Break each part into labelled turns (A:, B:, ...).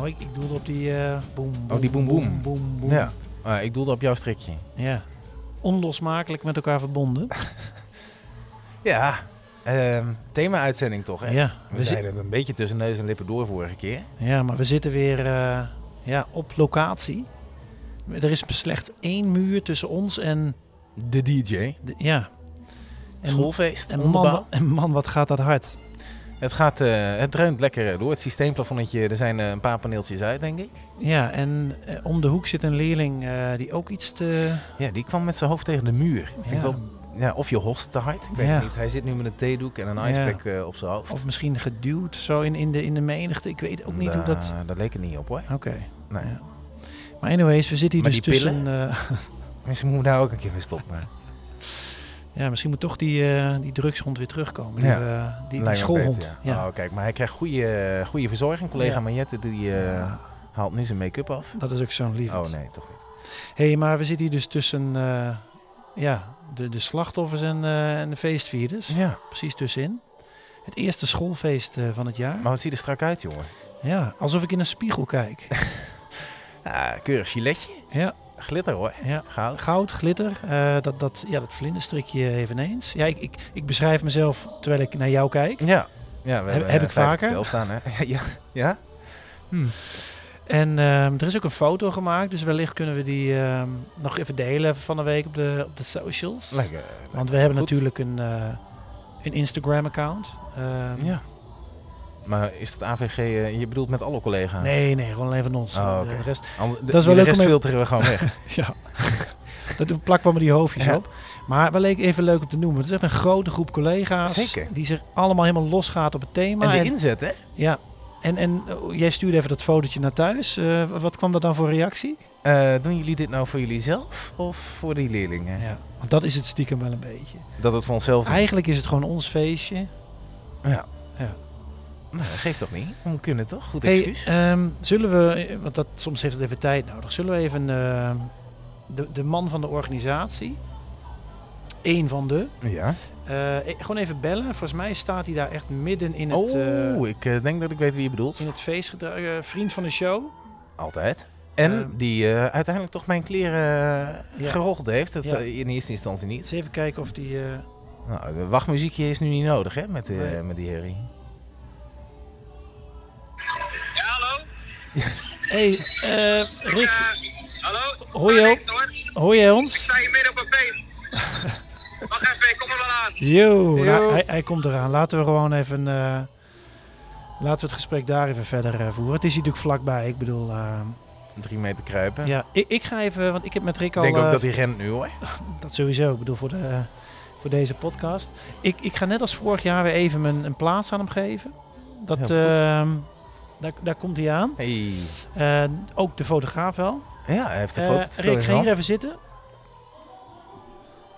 A: Oh, ik, ik doelde op die eh boem, boem,
B: Oh, die boem, boem.
A: boem, boem.
B: Ja. Ah, ik doelde op jouw strikje.
A: Ja. Onlosmakelijk met elkaar verbonden.
B: Ja. ehm, Thema-uitzending toch? Hè?
A: Ja, Dus
B: We
A: we zi-
B: zijn het een beetje tussen neus en lippen door vorige keer.
A: ja, maar we zitten weer eh, ja, op locatie. Er is slechts één muur tussen ons en...
B: De DJ.
A: de- ja. En,
B: Schoolfeest.
A: en man,
B: onderbouw.
A: wa- en man, wat gaat dat hard.
B: Het, gaat, eh, het dreunt lekker eh, door. Het systeemplafonnetje, er zijn eh, een paar paneeltjes uit, denk ik.
A: Ja, en eh, om de hoek zit een leerling eh, die ook iets te...
B: Ja, die kwam met zijn hoofd tegen de muur. Vind
A: Ja.
B: ik wel, ja, of je host te hard. Ik weet
A: Ja.
B: het niet. Hij zit nu met een theedoek en een
A: Ja.
B: icepack eh, op zijn hoofd.
A: Of misschien geduwd zo in, in, de, in de menigte. Ik weet ook niet hoe dat...
B: Daar- Dat leek er niet op hoor.
A: Oké.
B: Nee.
A: Ja. Maar anyways, we zitten hier
B: Maar
A: dus
B: die pillen?
A: tussen... eh,
B: Misschien moeten we daar ook een keer mee stoppen.
A: Ja, misschien moet toch die, eh, die drugshond weer terugkomen. Die,
B: Ja.
A: eh, die, die
B: Lijkt me
A: schoolhond.
B: beter,
A: ja.
B: Oh, kijk, maar hij krijgt goede, eh, goede verzorging. Collega
A: Ja.
B: Magnette die, eh, haalt nu zijn make-up af.
A: Dat is ook zo'n lief.
B: Oh nee, toch niet.
A: hey, maar we zitten hier dus tussen eh, ja, de, de slachtoffers en, eh, en de feestvierders.
B: Ja,
A: Precies tussenin. Het eerste schoolfeest eh, van het jaar.
B: maar wat ziet er strak uit, jongen.
A: Ja, alsof ik in een spiegel kijk.
B: Ah, keurig giletje.
A: ja,
B: Glitter hoor.
A: ja.
B: Goud.
A: Goud, glitter, eh, dat, dat, ja, dat vlinderstrikje eveneens. Ja, ik, ik, ik beschrijf mezelf terwijl ik naar jou kijk.
B: Ja. ja we eh,
A: heb ik vaker?
B: Zelf staan, hè? ja. ja?
A: En ehm, er is ook een foto gemaakt, dus wellicht kunnen we die ehm, nog even delen van de week op de, op de socials.
B: Lekker.
A: Want we hebben
B: Goed.
A: natuurlijk een, eh, een Instagram-account. Ehm,
B: Ja. Maar is het AVG, eh, je bedoelt met alle collega's?
A: Nee, nee, gewoon alleen van ons.
B: Oh, oké.
A: De rest,
B: Anders, de,
A: Dat is wel
B: de
A: leuk
B: rest
A: om even-
B: filteren we gewoon weg.
A: ja. Dat doen- plakken we maar die hoofdjes
B: Ja.
A: op. Maar wel leek even leuk om te noemen. Het is echt een grote groep collega's.
B: Zeker.
A: Die zich allemaal helemaal losgaat op het thema.
B: en de inzet, hè?
A: ja. En, en oh, jij stuurde even dat fotootje naar thuis. Eh, wat kwam dat dan voor reactie?
B: Eh, doen jullie dit nou voor jullie zelf of voor die leerlingen?
A: Ja. Want dat is het stiekem wel een beetje.
B: Dat het voor onszelf doen.
A: Eigenlijk is het gewoon ons feestje.
B: Ja.
A: Ja.
B: Nou, dat geeft toch niet? We kunnen toch? Goed
A: Hey,
B: excuus.
A: ehm, zullen we, want dat, soms heeft het even tijd nodig, zullen we even ehm, de, de man van de organisatie, één van de,
B: ja.
A: eh, eh, gewoon even bellen. Volgens mij staat hij daar echt midden in het, eh,
B: oh, ik eh, denk dat ik weet wie je bedoelt.
A: in het feestgedrag. eh, vriend van de show.
B: Altijd. En
A: Ehm.
B: die eh, uiteindelijk toch mijn kleren eh
A: Ja.
B: gerocheld heeft. Dat
A: Ja.
B: zei in eerste instantie niet.
A: Eens even kijken of die... eh,
B: Nou, de wachtmuziekje is nu niet nodig, hè, met, eh,
A: Nee.
B: met die herrie.
C: Ja, hallo?
A: hey, eh, Rick,
C: Ja, hallo?
A: Hoi, joh.
C: Niks, hoor. Ik
A: hoor jij ons?
C: sta hier midden op een feest. Wacht even, ik kom er wel aan.
A: Yo, nou,
B: Yo.
A: hij, hij komt eraan. Laten we gewoon even... eh, laten we het gesprek daar even verder eh, voeren. Het is hier natuurlijk vlakbij, ik bedoel... eh,
B: Drie meter kruipen.
A: ja, ik, ik ga even, want ik heb met Rick
B: Ik
A: al...
B: denk
A: eh,
B: ook dat hij rent nu, hoor.
A: Dat sowieso. Ik bedoel, voor, de, voor deze podcast. Ik, ik ga net als vorig jaar weer even mijn, een plaats aan hem geven. Dat,
B: Heel goed.
A: ehm, daar, daar komt hij aan.
B: Hey.
A: Eh, ook de fotograaf wel.
B: Ja, hij heeft de
A: Eh,
B: foto te
A: Rick, ga
B: Hé,
A: hier even zitten.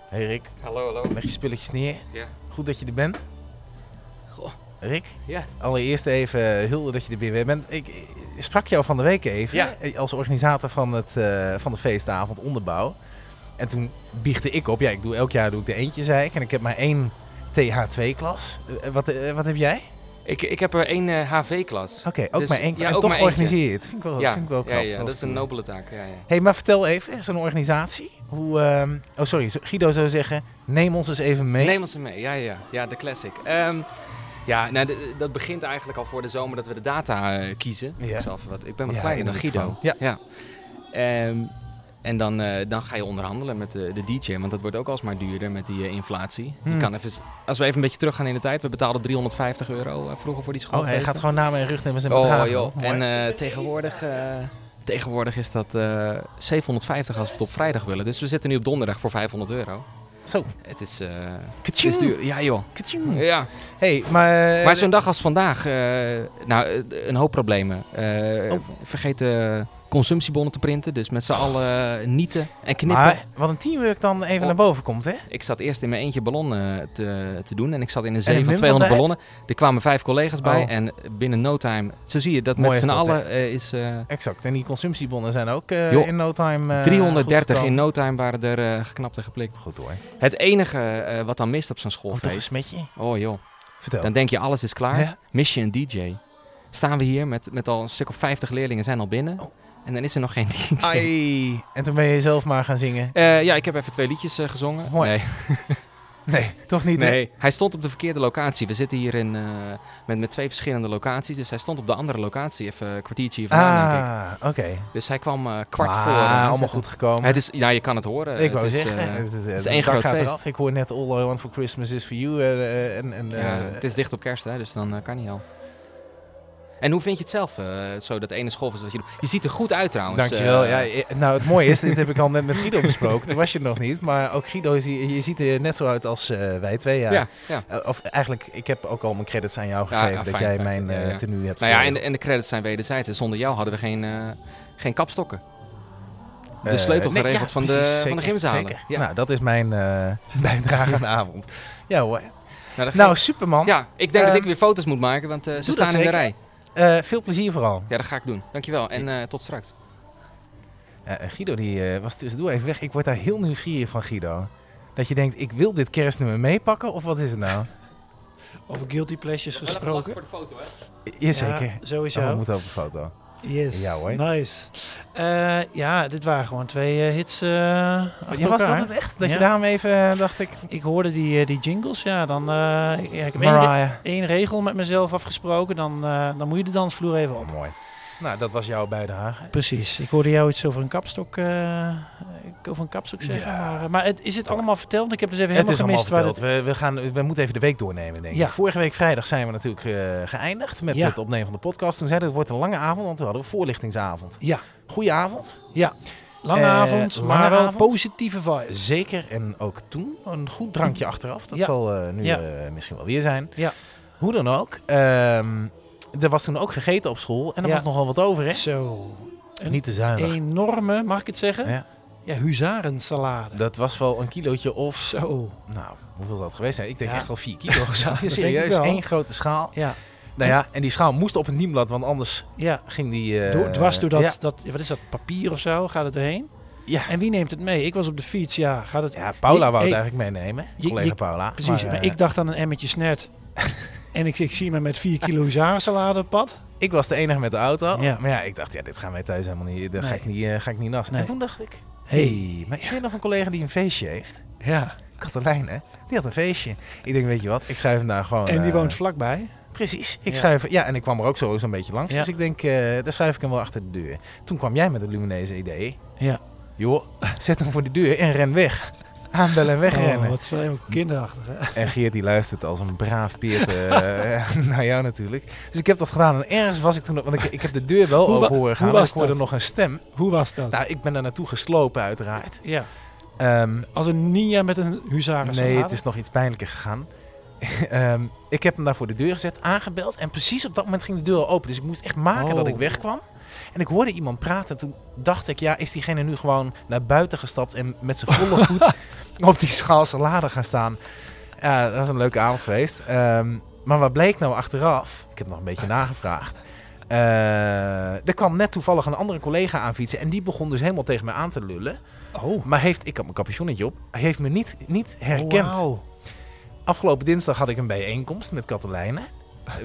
B: hey, Rick.
D: Hallo, hallo.
B: Leg je spulletjes neer.
D: Ja.
B: Goed dat je er bent.
D: Goh.
B: Rick,
D: Ja.
B: allereerst even eh, hulde dat je er weer weer bent. Ik eh, sprak jou van de week even
D: Ja.
B: eh, als organisator van, het, eh, van de feestavond onderbouw. En toen biechtte ik op, ja, ik doe elk jaar doe ik de eentje, zei ik. En ik heb maar één TH2-klas. wat, eh, wat heb jij?
D: Ik, ik heb er één eh, HV-klas.
B: Oké, ook
D: Dus,
B: maar één.
D: ja,
B: en
D: ook
B: toch
D: maar eentje.
B: organiseer je het. Vind ik wel,
D: ja,
B: Oh, vind ik wel
D: ja,
B: knap.
D: ja,
B: Wel
D: dat is
B: stoer.
D: een nobele taak. Ja, ja.
B: hey, maar vertel even, zo'n organisatie. Hoe, ehm, oh, sorry, zo- Guido zou zeggen, neem ons eens even mee.
D: Neem ons er mee. Ja, ja, ja. ja de classic. Ehm, ja, nou, de- dat begint eigenlijk al voor de zomer dat we de data eh, kiezen.
B: Ja.
D: Ik, zal even wat, ik ben wat
B: Ja,
D: kleiner
B: in
D: dan
B: de
D: Guido.
B: microfoon.
D: Ehm, en dan, eh, dan ga je onderhandelen met de, de DJ, want dat wordt ook alsmaar duurder met die eh, inflatie.
B: Hmm.
D: Je kan even, als we even een beetje teruggaan in de tijd, we betaalden 350 euro eh, vroeger voor die school.
B: Oh, hij gaat gewoon namen en rugnummers en
D: Oh
B: bedragen.
D: joh,
B: Mooi.
D: en eh, tegenwoordig, eh, tegenwoordig is dat eh, 750 als we het op vrijdag willen. Dus we zitten nu op donderdag voor 500 euro.
B: Zo,
D: Het is, eh, het
B: Katjoen.
D: is duur. Ja joh.
B: Katjoen.
D: Ja.
B: Hey, maar... eh,
D: Maar zo'n dag als vandaag, eh, nou, eh, een hoop problemen. Eh,
B: Oh.
D: Vergeet eh, consumptiebonnen te printen, dus met z'n allen eh, nieten en knippen.
B: maar wat een teamwork dan even
D: Oh.
B: naar boven komt, hè?
D: Ik zat eerst in mijn eentje ballonnen te, te doen en ik zat in een
B: in
D: zee van
B: minder
D: 200
B: tijd?
D: ballonnen. Er kwamen vijf collega's bij
B: Oh.
D: en binnen no time, zo zie je dat
B: Mooi
D: met
B: is
D: z'n
B: dat, hè?
D: allen eh, is... eh,
B: Exact. En die consumptiebonnen zijn ook eh,
D: Joh,
B: in no time... eh,
D: 330 in
B: goedgekomen.
D: no time waren er eh, geknapt en geplikt.
B: Goed hoor.
D: Het enige eh, wat dan mist op zo'n
B: Of toch een
D: schoolfeest...
B: smetje?
D: Oh joh,
B: Vertel.
D: dan denk je alles is klaar.
B: Ja.
D: Mis je een DJ. Staan we hier met, met al een stuk of 50 leerlingen zijn al binnen.
B: Oh.
D: En dan is er nog geen DJ.
B: Ai. En toen ben je zelf maar gaan zingen.
D: Eh, ja, ik heb even twee liedjes eh, gezongen.
B: Mooi.
D: Nee,
B: Nee, toch niet? hè?
D: nee, hij stond op de verkeerde locatie. We zitten hier in, eh, met, met twee verschillende locaties. Dus hij stond op de andere locatie, even een kwartiertje hiervan, denk ik.
B: Ah, oké.
D: Dus hij kwam eh, kwart
B: Maar
D: voor. eh,
B: allemaal
D: zitten.
B: goed gekomen.
D: Het is, ja, je kan het horen.
B: ik wou
D: het is,
B: zeggen,
D: eh,
B: het,
D: is
B: de
D: één
B: dak
D: groot
B: gaat
D: feest.
B: eraf. Ik hoor net All I Want For Christmas Is For You. eh, eh, en, en, eh,
D: ja, het is dicht op kerst, hè, dus dan eh, kan niet al. En hoe vind je het zelf, eh, zo dat ene schoolfeest wat je doet? Je ziet er goed uit trouwens.
B: Dankjewel.
D: eh,
B: ja, eh, nou, het mooie is, dit heb ik al net met Guido besproken. Toen was je er nog niet. Maar ook Guido, is hier- je ziet er net zo uit als eh, wij twee. Ja.
D: ja, ja.
B: Eh, Of eigenlijk, ik heb ook al mijn credits aan jou
D: Ja,
B: gegeven.
D: ja,
B: dat
D: fijn,
B: jij
D: fijn.
B: mijn eh
D: Ja, ja.
B: tenue hebt.
D: Nou ja, en,
B: geregeld.
D: en de credits zijn wederzijds. En zonder jou hadden we geen, eh, geen kapstokken. De
B: Eh,
D: sleutel
B: nee,
D: geregeld
B: ja,
D: van,
B: precies,
D: de, van
B: zeker,
D: de gymzalen.
B: zeker.
D: Ja.
B: Nou, dat is mijn eh, bijdrage aan de avond. Ja hoor.
D: Nou, dat
B: Nou,
D: ging-
B: Superman.
D: ja, ik denk dat
B: eh,
D: ik weer foto's moet maken, want eh, ze
B: dat
D: staan in de
B: zeker.
D: rij.
B: Eh, veel plezier vooral.
D: Ja, dat ga ik doen. Dankjewel en eh, tot straks.
B: Ja, en Guido die eh, was tussendoor even weg. Ik word daar heel nieuwsgierig van, Guido. Dat je denkt, ik wil dit kerstnummer meepakken, of wat is het nou?
A: Over guilty pleasures gesproken.
D: de foto, hè?
B: Jazeker.
A: Ja, sowieso.
B: Ja, we moeten op de foto.
A: Yes,
B: Ja, hoor.
A: nice. Eh, ja, dit waren gewoon twee eh, hits eh achter
B: Ja, Oh, was dat
A: elkaar.
B: het echt? Dat je
A: Ja.
B: daarom even, eh, dacht ik,
A: Ik hoorde die, eh, die jingles, ja, dan... eh, ja, ik heb één, re-
B: Mariah.
A: één regel met mezelf afgesproken, dan, eh, dan moet je de dansvloer even op.
B: Oh, mooi. Nou, dat was jouw bijdrage.
A: Precies. Ik hoorde jou iets over een kapstok, eh, ik- over een kapstok zeggen.
B: Ja.
A: Maar, eh, maar het, is het allemaal verteld? Want Ik heb dus even
B: Het
A: helemaal
B: is allemaal
A: gemist waar
B: verteld.
A: het...
B: We, we, gaan, we moeten even de week doornemen, denk ik.
A: Ja.
B: Vorige week vrijdag zijn we natuurlijk eh, geëindigd met
A: Ja.
B: het opnemen van de podcast. Toen zeiden we, het wordt een lange avond, want we hadden een voorlichtingsavond.
A: Ja,
B: Goeie avond.
A: lange
B: Eh,
A: avond,
B: lange
A: maar wel
B: avond.
A: positieve vibes.
B: Zeker. En ook toen een goed drankje achteraf. Dat
A: Ja.
B: zal eh, nu
A: Ja.
B: eh, misschien wel weer zijn.
A: Ja.
B: Hoe dan ook. ehm, er was toen ook gegeten op school. En er
A: Ja.
B: was nogal wat over, hè?
A: Zo, een
B: Niet te zuinig.
A: enorme, mag ik het zeggen?
B: Ja.
A: Ja, huzarensalade.
B: Dat was wel een kilootje of...
A: e- Zo,
B: Nou, hoeveel zal het geweest zijn? Ik denk
A: Ja.
B: echt wel vier kilo. of zo.
A: dat denk ik
B: Serieus,
A: wel.
B: één grote schaal.
A: ja.
B: Nou ja, en die schaal moest op het niemblad, want anders
A: ja.
B: ging die... eh,
A: Door, dwars door dat,
B: Ja,
A: dat, wat is dat, papier of zo, gaat het doorheen?
B: Ja.
A: En wie neemt het mee? Ik was op de fiets, ja, gaat het...
B: Ja, Paula
A: Je-
B: wou het
A: hey,
B: eigenlijk meenemen.
A: je-
B: collega
A: je-
B: Paula.
A: Precies, maar,
B: eh,
A: ik dacht aan een emmertje snert. en ik, ik zie me met 4 kilo huzarensalade op pad.
B: ik was de enige met de auto.
A: Ja.
B: Maar ja, ik dacht, ja, dit gaan wij thuis helemaal niet... Dat ga,
A: Nee.
B: ik niet, eh, ga ik niet nassen.
A: Nee.
B: En toen dacht ik...
A: Hey.
B: Maar ik ken nog een collega die een feestje heeft.
A: Ja,
B: Katelijn, hè? Die had een feestje. Ik denk, weet je wat? Ik schrijf hem daar gewoon...
A: en die
B: eh,
A: woont vlakbij.
B: Precies. Ik
A: Ja.
B: schrijf... Ja, en ik kwam er ook zo zo'n beetje langs.
A: Ja.
B: Dus ik denk, eh, daar schrijf ik hem wel achter de deur. Toen kwam jij met het Luminese idee.
A: Ja.
B: Joh, zet hem voor de deur en ren weg. Aanbellen en wegrennen.
A: Oh, wat helemaal kinderachtig, hè?
B: En Geert die luistert als een braaf peert eh, naar jou natuurlijk. Dus ik heb dat gedaan. En ergens was ik toen... nog- Want ik, ik heb de deur wel
A: Hoe wa-
B: open horen gaan.
A: hoe
B: en
A: was
B: ik hoorde
A: dat?
B: nog een stem.
A: Hoe was dat?
B: Nou, ik ben daar naartoe geslopen uiteraard.
A: ja,
B: Ehm,
A: als een ninja met een huzarensalade.
B: Nee, het is nog iets pijnlijker gegaan. Ehm, ik heb hem daar voor de deur gezet, aangebeld. En precies op dat moment ging de deur al open. Dus ik moest echt maken dat ik
A: Oh.
B: wegkwam. En ik hoorde iemand praten. Toen dacht ik, ja, is diegene nu gewoon naar buiten gestapt en met zijn volle voet op die schaal salade gaan staan? Ja, dat was een leuke avond geweest. Ehm, maar wat bleek nou achteraf? Ik heb nog een beetje nagevraagd. Eh, er kwam net toevallig een andere collega aan fietsen. En die begon dus helemaal tegen me aan te lullen.
A: Oh,
B: Maar heeft, ik had mijn capuchonnetje op. Hij heeft me niet, niet herkend.
A: wauw.
B: Afgelopen dinsdag had ik een bijeenkomst met Katelijne.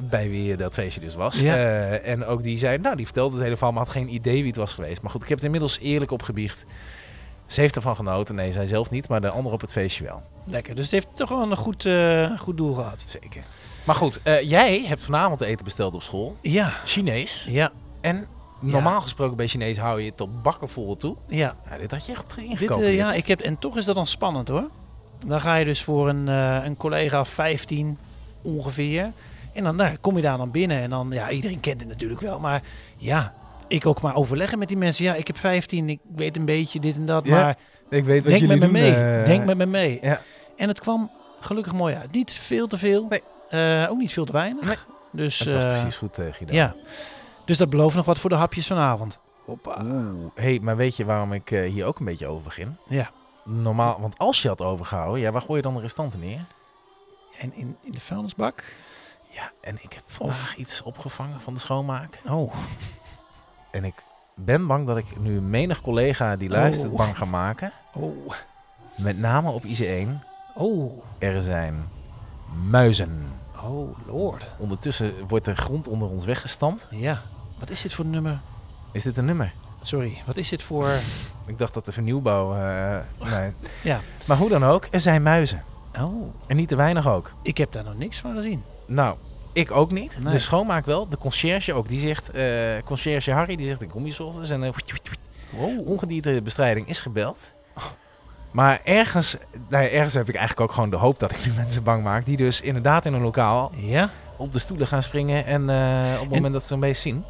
B: Bij wie eh, dat feestje dus was.
A: Ja.
B: Eh, en ook die zei, nou die vertelde het hele verhaal, maar had geen idee wie het was geweest. Maar goed, ik heb het inmiddels eerlijk opgebiecht. Ze heeft ervan genoten. Nee, zij zelf niet, maar de ander op het feestje wel.
A: Lekker, dus het heeft toch wel een goed, eh, goed doel gehad.
B: Zeker. Maar goed, eh, jij hebt vanavond eten besteld op school.
A: Ja,
B: Chinees.
A: ja,
B: En normaal gesproken bij Chinees hou je het tot bakken vol toe.
A: ja.
B: Nou, dit had je echt goed
A: Dit,
B: ingekomen.
A: eh, ja, ik heb, en toch is dat dan spannend hoor. Dan ga je dus voor een, eh, een collega of 15 ongeveer. En dan nou, kom je daar dan binnen. En dan, ja, iedereen kent het natuurlijk wel. Maar ja, ik ook maar overleggen met die mensen. Ja, ik heb 15, ik weet een beetje dit en dat.
B: Ja,
A: maar
B: Ik weet
A: denk met me mee. denk met me mee.
B: eh, Ja.
A: En het kwam gelukkig mooi uit. Niet veel te veel,
B: Nee.
A: eh, ook niet veel te weinig.
B: Nee.
A: Dus,
B: Het was
A: eh,
B: precies goed tegen je. dan.
A: ja. dus dat belooft nog wat voor de hapjes vanavond.
B: Oeh. hey, maar weet je waarom ik eh, hier ook een beetje over begin?
A: Ja.
B: Normaal, want als je had overgehouden, ja, waar gooi je dan de restanten neer?
A: En in, in de vuilnisbak?
B: Ja, en ik heb vandaag iets opgevangen van de schoonmaak.
A: Oh,
B: En ik ben bang dat ik nu menig collega die luistert
A: Oh.
B: bang ga maken.
A: oh,
B: Met name op IC1.
A: oh,
B: Er zijn muizen.
A: oh, lord.
B: Ondertussen wordt de grond onder ons weggestampt.
A: Ja, wat is dit voor nummer?
B: Is dit een nummer?
A: Sorry, wat is dit voor...
B: Ik dacht dat de vernieuwbouw... eh, nee.
A: Ja.
B: Maar hoe dan ook, er zijn muizen.
A: Oh,
B: En niet te weinig ook.
A: ik heb daar nog niks van gezien.
B: Nou, ik ook niet.
A: Nee.
B: De schoonmaak wel. De conciërge ook. Die zegt, eh conciërge Harry, die zegt, ik kom hier 's ochtends. En eh,
A: Wow.
B: oh. ongediertebestrijding is gebeld.
A: Oh.
B: Maar ergens, nou ja, ergens heb ik eigenlijk ook gewoon de hoop dat ik nu mensen bang maak. Die dus inderdaad in een lokaal
A: Ja,
B: op de stoelen gaan springen. En eh, op het moment dat ze een beetje zien.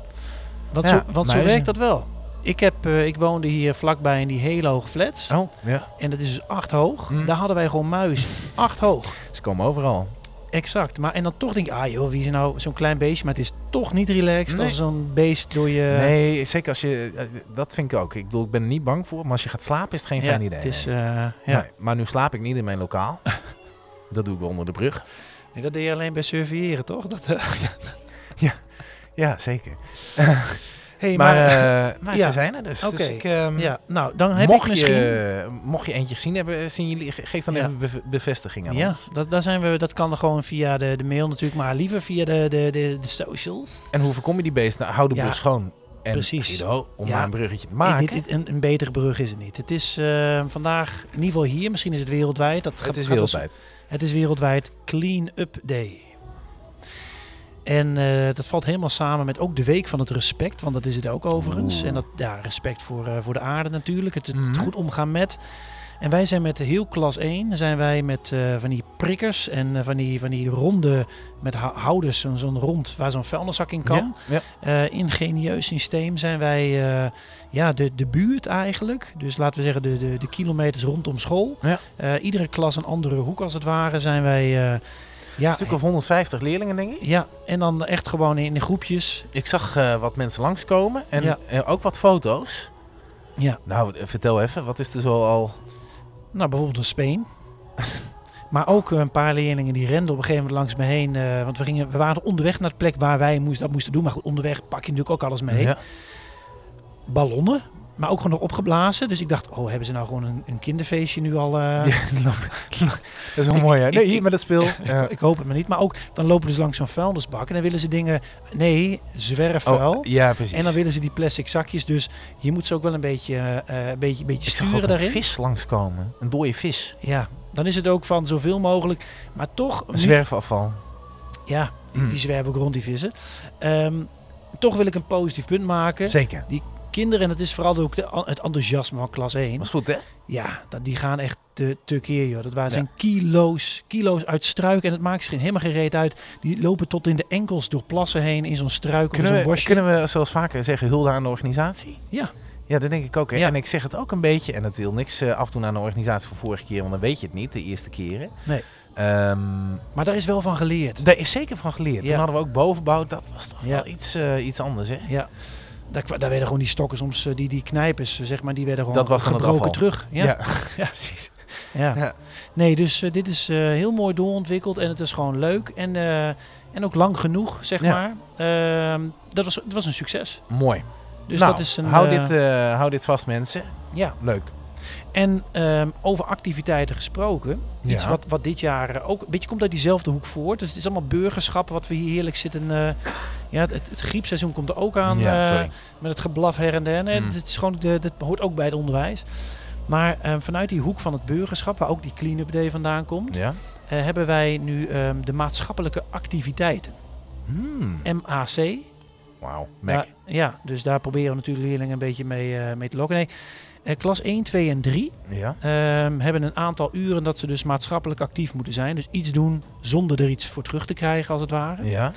A: want,
B: Ja,
A: zo, want zo
B: muizen.
A: werkt dat wel. Ik, heb, eh, ik woonde hier vlakbij in die hele hoge flats.
B: Oh, ja.
A: En dat is dus acht hoog.
B: Mm.
A: Daar hadden wij gewoon muizen. Acht hoog.
B: Ze komen overal.
A: Exact. Maar, en dan toch denk ik, ah joh, wie is er nou zo'n klein beestje? Maar het is toch niet relaxed
B: Nee.
A: als zo'n beest door je...
B: nee, zeker als je... eh, dat vind ik ook. Ik bedoel, ik ben er niet bang voor. Maar als je gaat slapen is het geen
A: ja,
B: fijn idee.
A: Het is,
B: nee.
A: eh, ja.
B: Nee, maar nu slaap ik niet in mijn lokaal. dat doe ik wel onder de brug.
A: Nee, dat deed je alleen bij surveilleren, toch? Dat, eh,
B: Ja, zeker.
A: hey,
B: Maar,
A: maar-
B: eh, maar
A: ja.
B: ze zijn er dus.
A: Oké.
B: dus ik, ehm,
A: ja, nou, dan heb
B: mocht,
A: ik misschien...
B: je, mocht je eentje gezien hebben, eh, zien jullie, ge- geef dan
A: Ja.
B: even beve- bevestiging aan
A: Ja,
B: ons.
A: dat, daar zijn we, dat kan dan gewoon via de, de mail natuurlijk, maar liever via de, de, de, de socials.
B: En hoe voorkom je die beesten? Nou, hou de
A: Ja,
B: boel schoon. En
A: precies.
B: Guido, om
A: Ja.
B: maar een bruggetje te
A: Ik-
B: maken.
A: dit- dit- een, een betere brug is het niet. Het is eh, vandaag, in ieder geval hier, misschien is het wereldwijd. Dat gaat-
B: het is
A: gaat als-
B: wereldwijd.
A: het is wereldwijd Clean Up Day. En eh, dat valt helemaal samen met ook de Week van het Respect, want dat is het ook overigens.
B: Oeh.
A: En dat, ja, respect voor, eh, voor de aarde natuurlijk, het, het
B: Mhm.
A: goed omgaan met. En wij zijn met heel klas 1, zijn wij met eh, van die prikkers en eh, van, die, van die ronde, met hou- houders, zo'n zo'n rond waar zo'n vuilniszak in kan.
B: Ja, ja.
A: Eh, ingenieus systeem zijn wij eh, ja, de, de buurt eigenlijk. Dus laten we zeggen de, de, de kilometers rondom school.
B: Ja.
A: Eh, iedere klas een andere hoek als het ware zijn wij... eh,
B: Een
A: ja, eh,
B: stuk of 150 leerlingen, denk ik.
A: ja, en dan echt gewoon in, in groepjes.
B: Ik zag eh, wat mensen langskomen en
A: Ja.
B: eh, ook wat foto's.
A: Ja.
B: Nou, eh, vertel even, wat is er zo al...
A: Nou, bijvoorbeeld een speen. maar ook eh, een paar leerlingen die renden op een gegeven moment langs me heen. eh, want we, gingen, we waren onderweg naar de plek waar wij moest, dat moesten doen. Maar goed, onderweg pak je natuurlijk ook alles mee.
B: Ja.
A: Ballonnen, maar ook gewoon nog opgeblazen. Dus ik dacht, oh, hebben ze nou gewoon een, een kinderfeestje nu al... eh,
B: nou, Dat is wel mooi, hè? Nee, hier met dat speel. Eh,
A: Ik hoop het maar niet. Maar ook, dan lopen we dus langs zo'n vuilnisbak. En dan willen ze dingen... Nee, zwerfvuil.
B: oh, ja, precies.
A: en dan willen ze die plastic zakjes. Dus je moet ze ook wel een beetje, eh, een beetje, een beetje
B: Ik zag ook
A: sturen
B: een
A: daarin.
B: vis langskomen. Een dode vis.
A: Ja, dan is het ook van zoveel mogelijk. Maar toch... nu-
B: Zwerfafval.
A: ja,
B: Mm.
A: die zwerven ook rond, die vissen. Ehm, toch wil ik een positief punt maken.
B: Zeker.
A: Kinderen, en dat is vooral ook de, het enthousiasme van klas 1.
B: Was goed, hè?
A: Ja, dat, die gaan echt te, te keer, joh. Dat waren
B: Ja.
A: zijn kilo's, kilo's uit struik. En het maakt zich helemaal geen reet uit. Die lopen tot in de enkels door plassen heen in zo'n struik of
B: Kunnen
A: zo'n
B: we,
A: bosje.
B: kunnen we, zoals vaker zeggen, hulde aan de organisatie?
A: Ja.
B: Ja, dat denk ik ook. Hè?
A: Ja.
B: En ik zeg het ook een beetje, en dat wil niks eh, afdoen aan de organisatie van vorige keer, want dan weet je het niet, de eerste keren.
A: Nee.
B: Ehm,
A: Maar daar is wel van geleerd.
B: daar is zeker van geleerd.
A: Ja.
B: Toen hadden we ook bovenbouw, dat was toch
A: Ja.
B: wel iets, eh, iets anders, hè?
A: Ja. Daar, kwa- daar werden gewoon die stokken soms, eh, die, die knijpers, eh, zeg maar, die werden gewoon
B: Dat was dan het
A: gebroken
B: afval.
A: terug. Ja. Ja.
B: Ja. precies. Ja.
A: Ja. Nee, dus eh, dit is eh, heel mooi doorontwikkeld en het is gewoon leuk. En, eh, en ook lang genoeg, zeg
B: Ja.
A: maar. Ehm, dat was, het was een succes.
B: Mooi.
A: Dus
B: nou,
A: dat is een...
B: hou,
A: eh,
B: dit, eh, hou dit vast, mensen.
A: ja.
B: Leuk.
A: En ehm, over activiteiten gesproken. Iets
B: Ja.
A: wat, wat dit jaar eh, ook een beetje komt uit diezelfde hoek voort. Dus het is allemaal burgerschap wat we hier heerlijk zitten. eh, ja, het, het, het griepseizoen komt er ook aan.
B: ja,
A: eh,
B: sorry.
A: met het geblaf her en der. Nee,
B: Mm.
A: dat, dat is gewoon de, dat hoort ook bij het onderwijs. Maar ehm, vanuit die hoek van het burgerschap, waar ook die clean-up day vandaan komt,
B: Ja.
A: eh, hebben wij nu ehm, de maatschappelijke activiteiten.
B: Hmm.
A: MAC.
B: Wauw. Mac.
A: Daar- ja, dus daar proberen we natuurlijk leerlingen een beetje mee, eh, mee te lokken. Nee, eh, klas 1, 2 en 3
B: Ja.
A: ehm, hebben een aantal uren dat ze dus maatschappelijk actief moeten zijn. Dus iets doen zonder er iets voor terug te krijgen, als het ware.
B: Ja.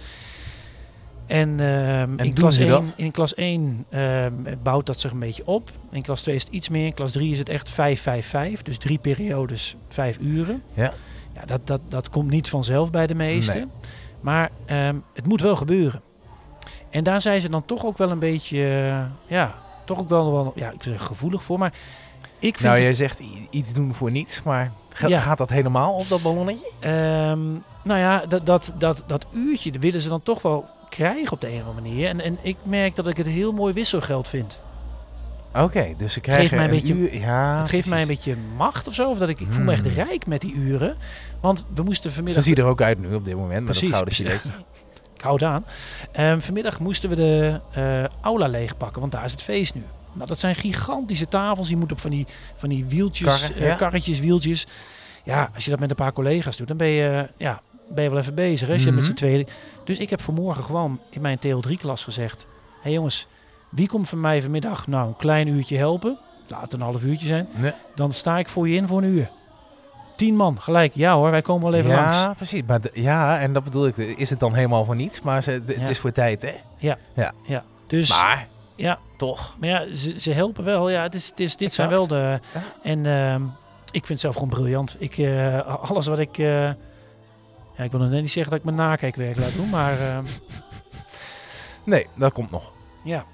A: En, ehm, in,
B: doen
A: klas
B: ze
A: 1,
B: dat?
A: in klas 1 ehm, bouwt dat zich een beetje op. In klas 2 is het iets meer. In klas 3 is het echt 5-5-5. Dus drie periodes, vijf uren.
B: Ja.
A: Ja, dat, dat, dat komt niet vanzelf bij de meesten.
B: Nee.
A: Maar ehm, het moet wel gebeuren. En daar zijn ze dan toch ook wel een beetje... eh, ja, toch ook wel, wel ja, ik zou zeggen gevoelig voor. Maar ik vind
B: Nou,
A: het-
B: jij zegt i- iets doen voor niets, maar gaat,
A: Ja.
B: gaat dat helemaal op dat ballonnetje?
A: Ehm, nou ja, dat, dat, dat, dat uurtje dat willen ze dan toch wel krijgen op de een of andere manier. En, en ik merk dat ik het heel mooi wisselgeld vind.
B: Oké, dus ze krijgen
A: mij een beetje-
B: uur- ja,
A: het geeft mij een
B: Ah, precies.
A: beetje macht of zo. Of dat ik, ik voel me echt
B: Hmm.
A: rijk met die uren. Want we moesten vanmiddag...
B: Ze zien er ook uit nu op dit moment met
A: Precies,
B: dat gouden
A: precies.
B: gilet.
A: Ik hou het aan. Ehm, vanmiddag moesten we de eh, aula leegpakken, want daar is het feest nu. Nou, dat zijn gigantische tafels. Je moet op van die, van die wieltjes,
B: Karren,
A: eh,
B: ja.
A: karretjes, wieltjes. Ja, als je dat met een paar collega's doet, dan ben je, eh, ja, ben je wel even bezig. Hè? Als je dat met z'n
B: Mhm.
A: tweeën... Dus ik heb vanmorgen gewoon in mijn TL3-klas gezegd... Hé hey jongens, wie komt van mij vanmiddag nou een klein uurtje helpen? Laat het een half uurtje zijn.
B: Nee.
A: Dan sta ik voor je in voor een uur. Tien man, gelijk. Ja hoor, wij komen wel even
B: ja,
A: langs.
B: precies. Maar de- ja, en dat bedoel ik. Is het dan helemaal voor niets? Maar ze, d- het
A: Ja.
B: is voor tijd, hè?
A: Dus
B: Maar
A: ja,
B: toch.
A: Maar ja, ze, ze helpen wel. Ja, het is, het is, dit zijn wel
B: Exact.
A: de...
B: Ja.
A: En ehm, ik vind het zelf gewoon briljant. Ik, eh, alles wat ik... eh, ja, ik wil nog net niet zeggen dat ik mijn nakijkwerk laat doen, maar ehm,
B: Nee, dat komt nog.
A: ja.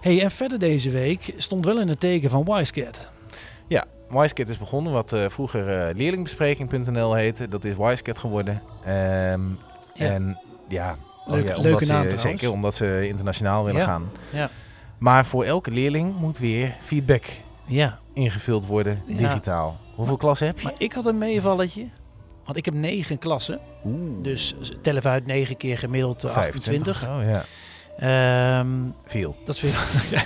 A: hey, en verder deze week stond wel in het teken van Wisecat.
B: Ja, Wisecat is begonnen, wat eh, vroeger eh, leerlingbespreking.nl heette. Dat is Wisecat geworden. Ehm,
A: Ja.
B: En ja,
A: Leuk-
B: Oh ja,
A: leuke
B: omdat
A: naam
B: ze,
A: trouwens.
B: Zeker, omdat ze internationaal willen
A: Ja.
B: gaan.
A: Ja.
B: Maar voor elke leerling moet weer feedback
A: Ja,
B: ingevuld worden,
A: Ja.
B: digitaal. Hoeveel klassen heb je?
A: maar ik had een meevalletje. Want ik heb negen klassen. Dus tel even uit, negen keer gemiddeld eh,
B: 25.
A: 28.
B: Oh ja,
A: Ehm
B: veel.
A: Dat is veel. Ja,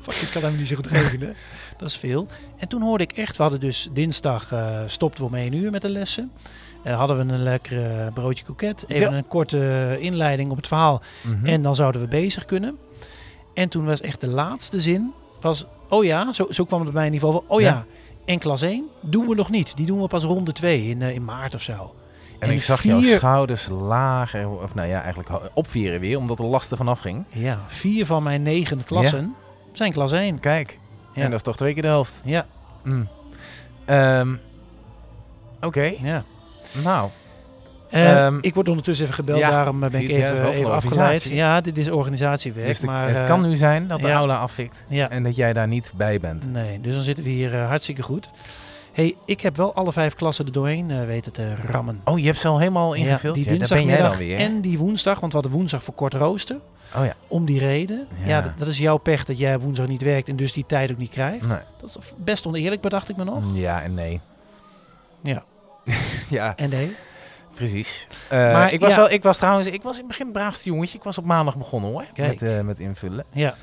A: Fuck, ik kan hem niet zo goed rekenen. Dat is veel. En toen hoorde ik echt, we hadden dus dinsdag eh stopten we om één uur met de lessen. Eh, hadden we een lekkere broodje koket. Even
B: Ja.
A: een korte inleiding op het verhaal.
B: Mhm.
A: En dan zouden we bezig kunnen. En toen was echt de laatste zin, was, oh ja, zo, zo kwam het bij mij in ieder geval. van, Oh ja.
B: Ja.
A: en klas 1 doen we nog niet. Die doen we pas ronde 2 in, eh, in maart of zo.
B: En
A: En
B: ik zag jouw
A: vier-
B: schouders lager, of nou ja, eigenlijk ho- opvieren weer, omdat de last ervan afging.
A: Ja, vier van mijn negen klassen zijn klas 1.
B: Kijk,
A: Ja.
B: en dat is toch twee keer de helft.
A: Ja,
B: Mm. Ehm, Oké,
A: ja.
B: nou,
A: Eh,
B: Ehm,
A: ik word ondertussen even gebeld,
B: ja,
A: daarom eh, ben
B: zie
A: ik
B: het, ja, het is
A: even,
B: wel
A: even
B: voor
A: afgeleid.
B: organisatie.
A: Ja, dit is organisatiewerk.
B: dus de-
A: maar,
B: het
A: eh,
B: kan nu zijn dat de
A: ja.
B: aula afvikt
A: Ja,
B: en dat jij daar niet bij bent.
A: nee, dus dan zitten we hier eh, hartstikke goed. hey, ik heb wel alle vijf klassen er doorheen eh, weten te rammen.
B: Oh, je hebt ze al helemaal
A: Ja,
B: ingevuld?
A: die
B: Ja, daar ben jij dan
A: dinsdagmiddag
B: weer.
A: en die woensdag, want we hadden woensdag voor kort rooster.
B: Oh ja.
A: Om die reden. Ja,
B: Ja.
A: dat, dat is jouw pech dat jij woensdag niet werkt en dus die tijd ook niet krijgt.
B: Nee.
A: Dat is best oneerlijk, bedacht ik me nog.
B: Ja en nee.
A: Ja.
B: ja,
A: En nee.
B: precies.
A: Maar
B: maar ik was,
A: ja.
B: wel, ik was trouwens, ik was in het begin het braafste jongetje. Ik was op maandag begonnen hoor,
A: Kijk.
B: met, eh, met invullen.
A: Ja,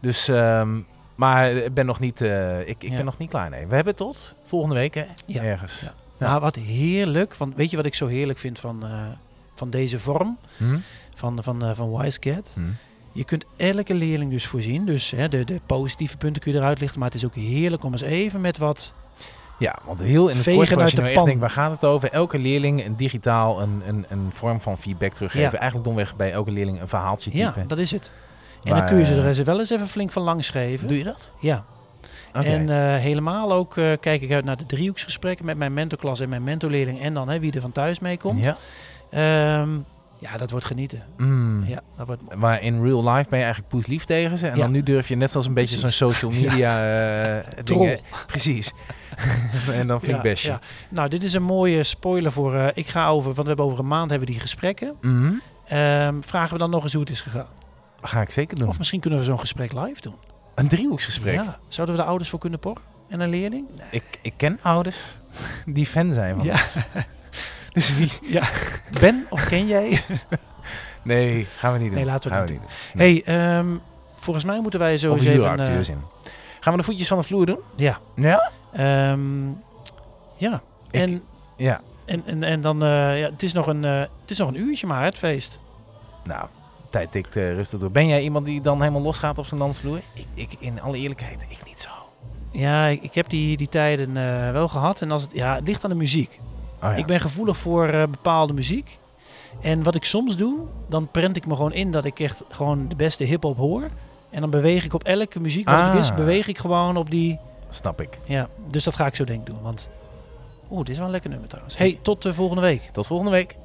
B: Dus, ehm, maar ik ben nog niet, eh, ik, ik
A: Ja.
B: ben nog niet klaar. Nee, we hebben tot volgende week hè?
A: Ja.
B: Ergens.
A: Ja. Nou, wat heerlijk. Want weet je wat ik zo heerlijk vind van, eh, van deze vorm?
B: Hm?
A: Van, van, eh, van Wisecat?
B: Hm.
A: Je kunt elke leerling dus voorzien. Dus hè, de, de positieve punten kun je eruit lichten. Maar het is ook heerlijk om eens even met wat...
B: Ja, want heel in het
A: Vegen
B: kort, voor
A: uit
B: als
A: de
B: je nou
A: pan.
B: echt denkt, waar gaat het over? Elke leerling een digitaal een, een, een vorm van feedback teruggeven.
A: Ja.
B: Eigenlijk domweg bij elke leerling een verhaaltje
A: Ja,
B: typen.
A: dat is het. En dan
B: Waar-
A: kun je ze er eens wel eens even flink van langs geven.
B: Doe je dat?
A: Ja.
B: Oké.
A: En eh, helemaal ook eh, kijk ik uit naar de driehoeksgesprekken met mijn mentorklas en mijn mentorleerling. En dan hè, wie er van thuis mee komt.
B: Ja.
A: Ehm, ja, dat wordt genieten.
B: Mm.
A: Ja, dat wordt mooi.
B: Maar in real life ben je eigenlijk poeslief tegen ze. En
A: Ja.
B: dan nu durf je net zoals een beetje zo'n social media eh
A: Troll.
B: dingen. Precies. en dan flink
A: Ja,
B: besje.
A: ja. Nou, dit is een mooie spoiler voor... eh, ik ga over... Want we hebben over een maand hebben we die gesprekken.
B: Mhm.
A: Ehm, vragen we dan nog eens hoe het is gegaan.
B: Ga ik zeker doen.
A: Of misschien kunnen we zo'n gesprek live doen.
B: een driehoeksgesprek.
A: Ja, zouden we de ouders voor kunnen porren? En een leerling?
B: Ik, ik ken ouders die fan zijn van.
A: Ja.
B: Dus wie?
A: ja. Ben of ken jij?
B: Nee, gaan we niet doen.
A: Nee, laten we
B: gaan
A: het
B: niet
A: hey, ehm, volgens mij moeten wij
B: doen.
A: zo
B: Of
A: eens
B: een
A: even...
B: acteurs in. Gaan we de voetjes van de vloer doen?
A: eh, ja.
B: Ja?
A: Ehm, ja.
B: Ik-
A: en,
B: Ja.
A: en, en, en dan... eh, ja, het, is nog een, eh, het is nog een uurtje maar, hè, het feest.
B: Nou, tijd tikt eh, rustig door. Ben jij iemand die dan helemaal losgaat op zijn dansvloer? Ik, ik, in alle eerlijkheid, ik niet zo. Oh
A: Ja, ik, ik heb die, die tijden eh, wel gehad. En als het, ja, het ligt aan de muziek.
B: Oh ja.
A: Ik ben gevoelig voor eh, bepaalde muziek. En wat ik soms doe, dan prent ik me gewoon in dat ik echt gewoon de beste hip-hop hoor. En dan beweeg ik op elke muziek wat het is,
B: Ah.
A: beweeg ik gewoon op die.
B: Snap ik.
A: Ja, dus dat ga ik zo denk ik doen. Want. Oeh, dit is wel een lekker nummer trouwens. Hey, tot de volgende week.
B: Tot volgende week.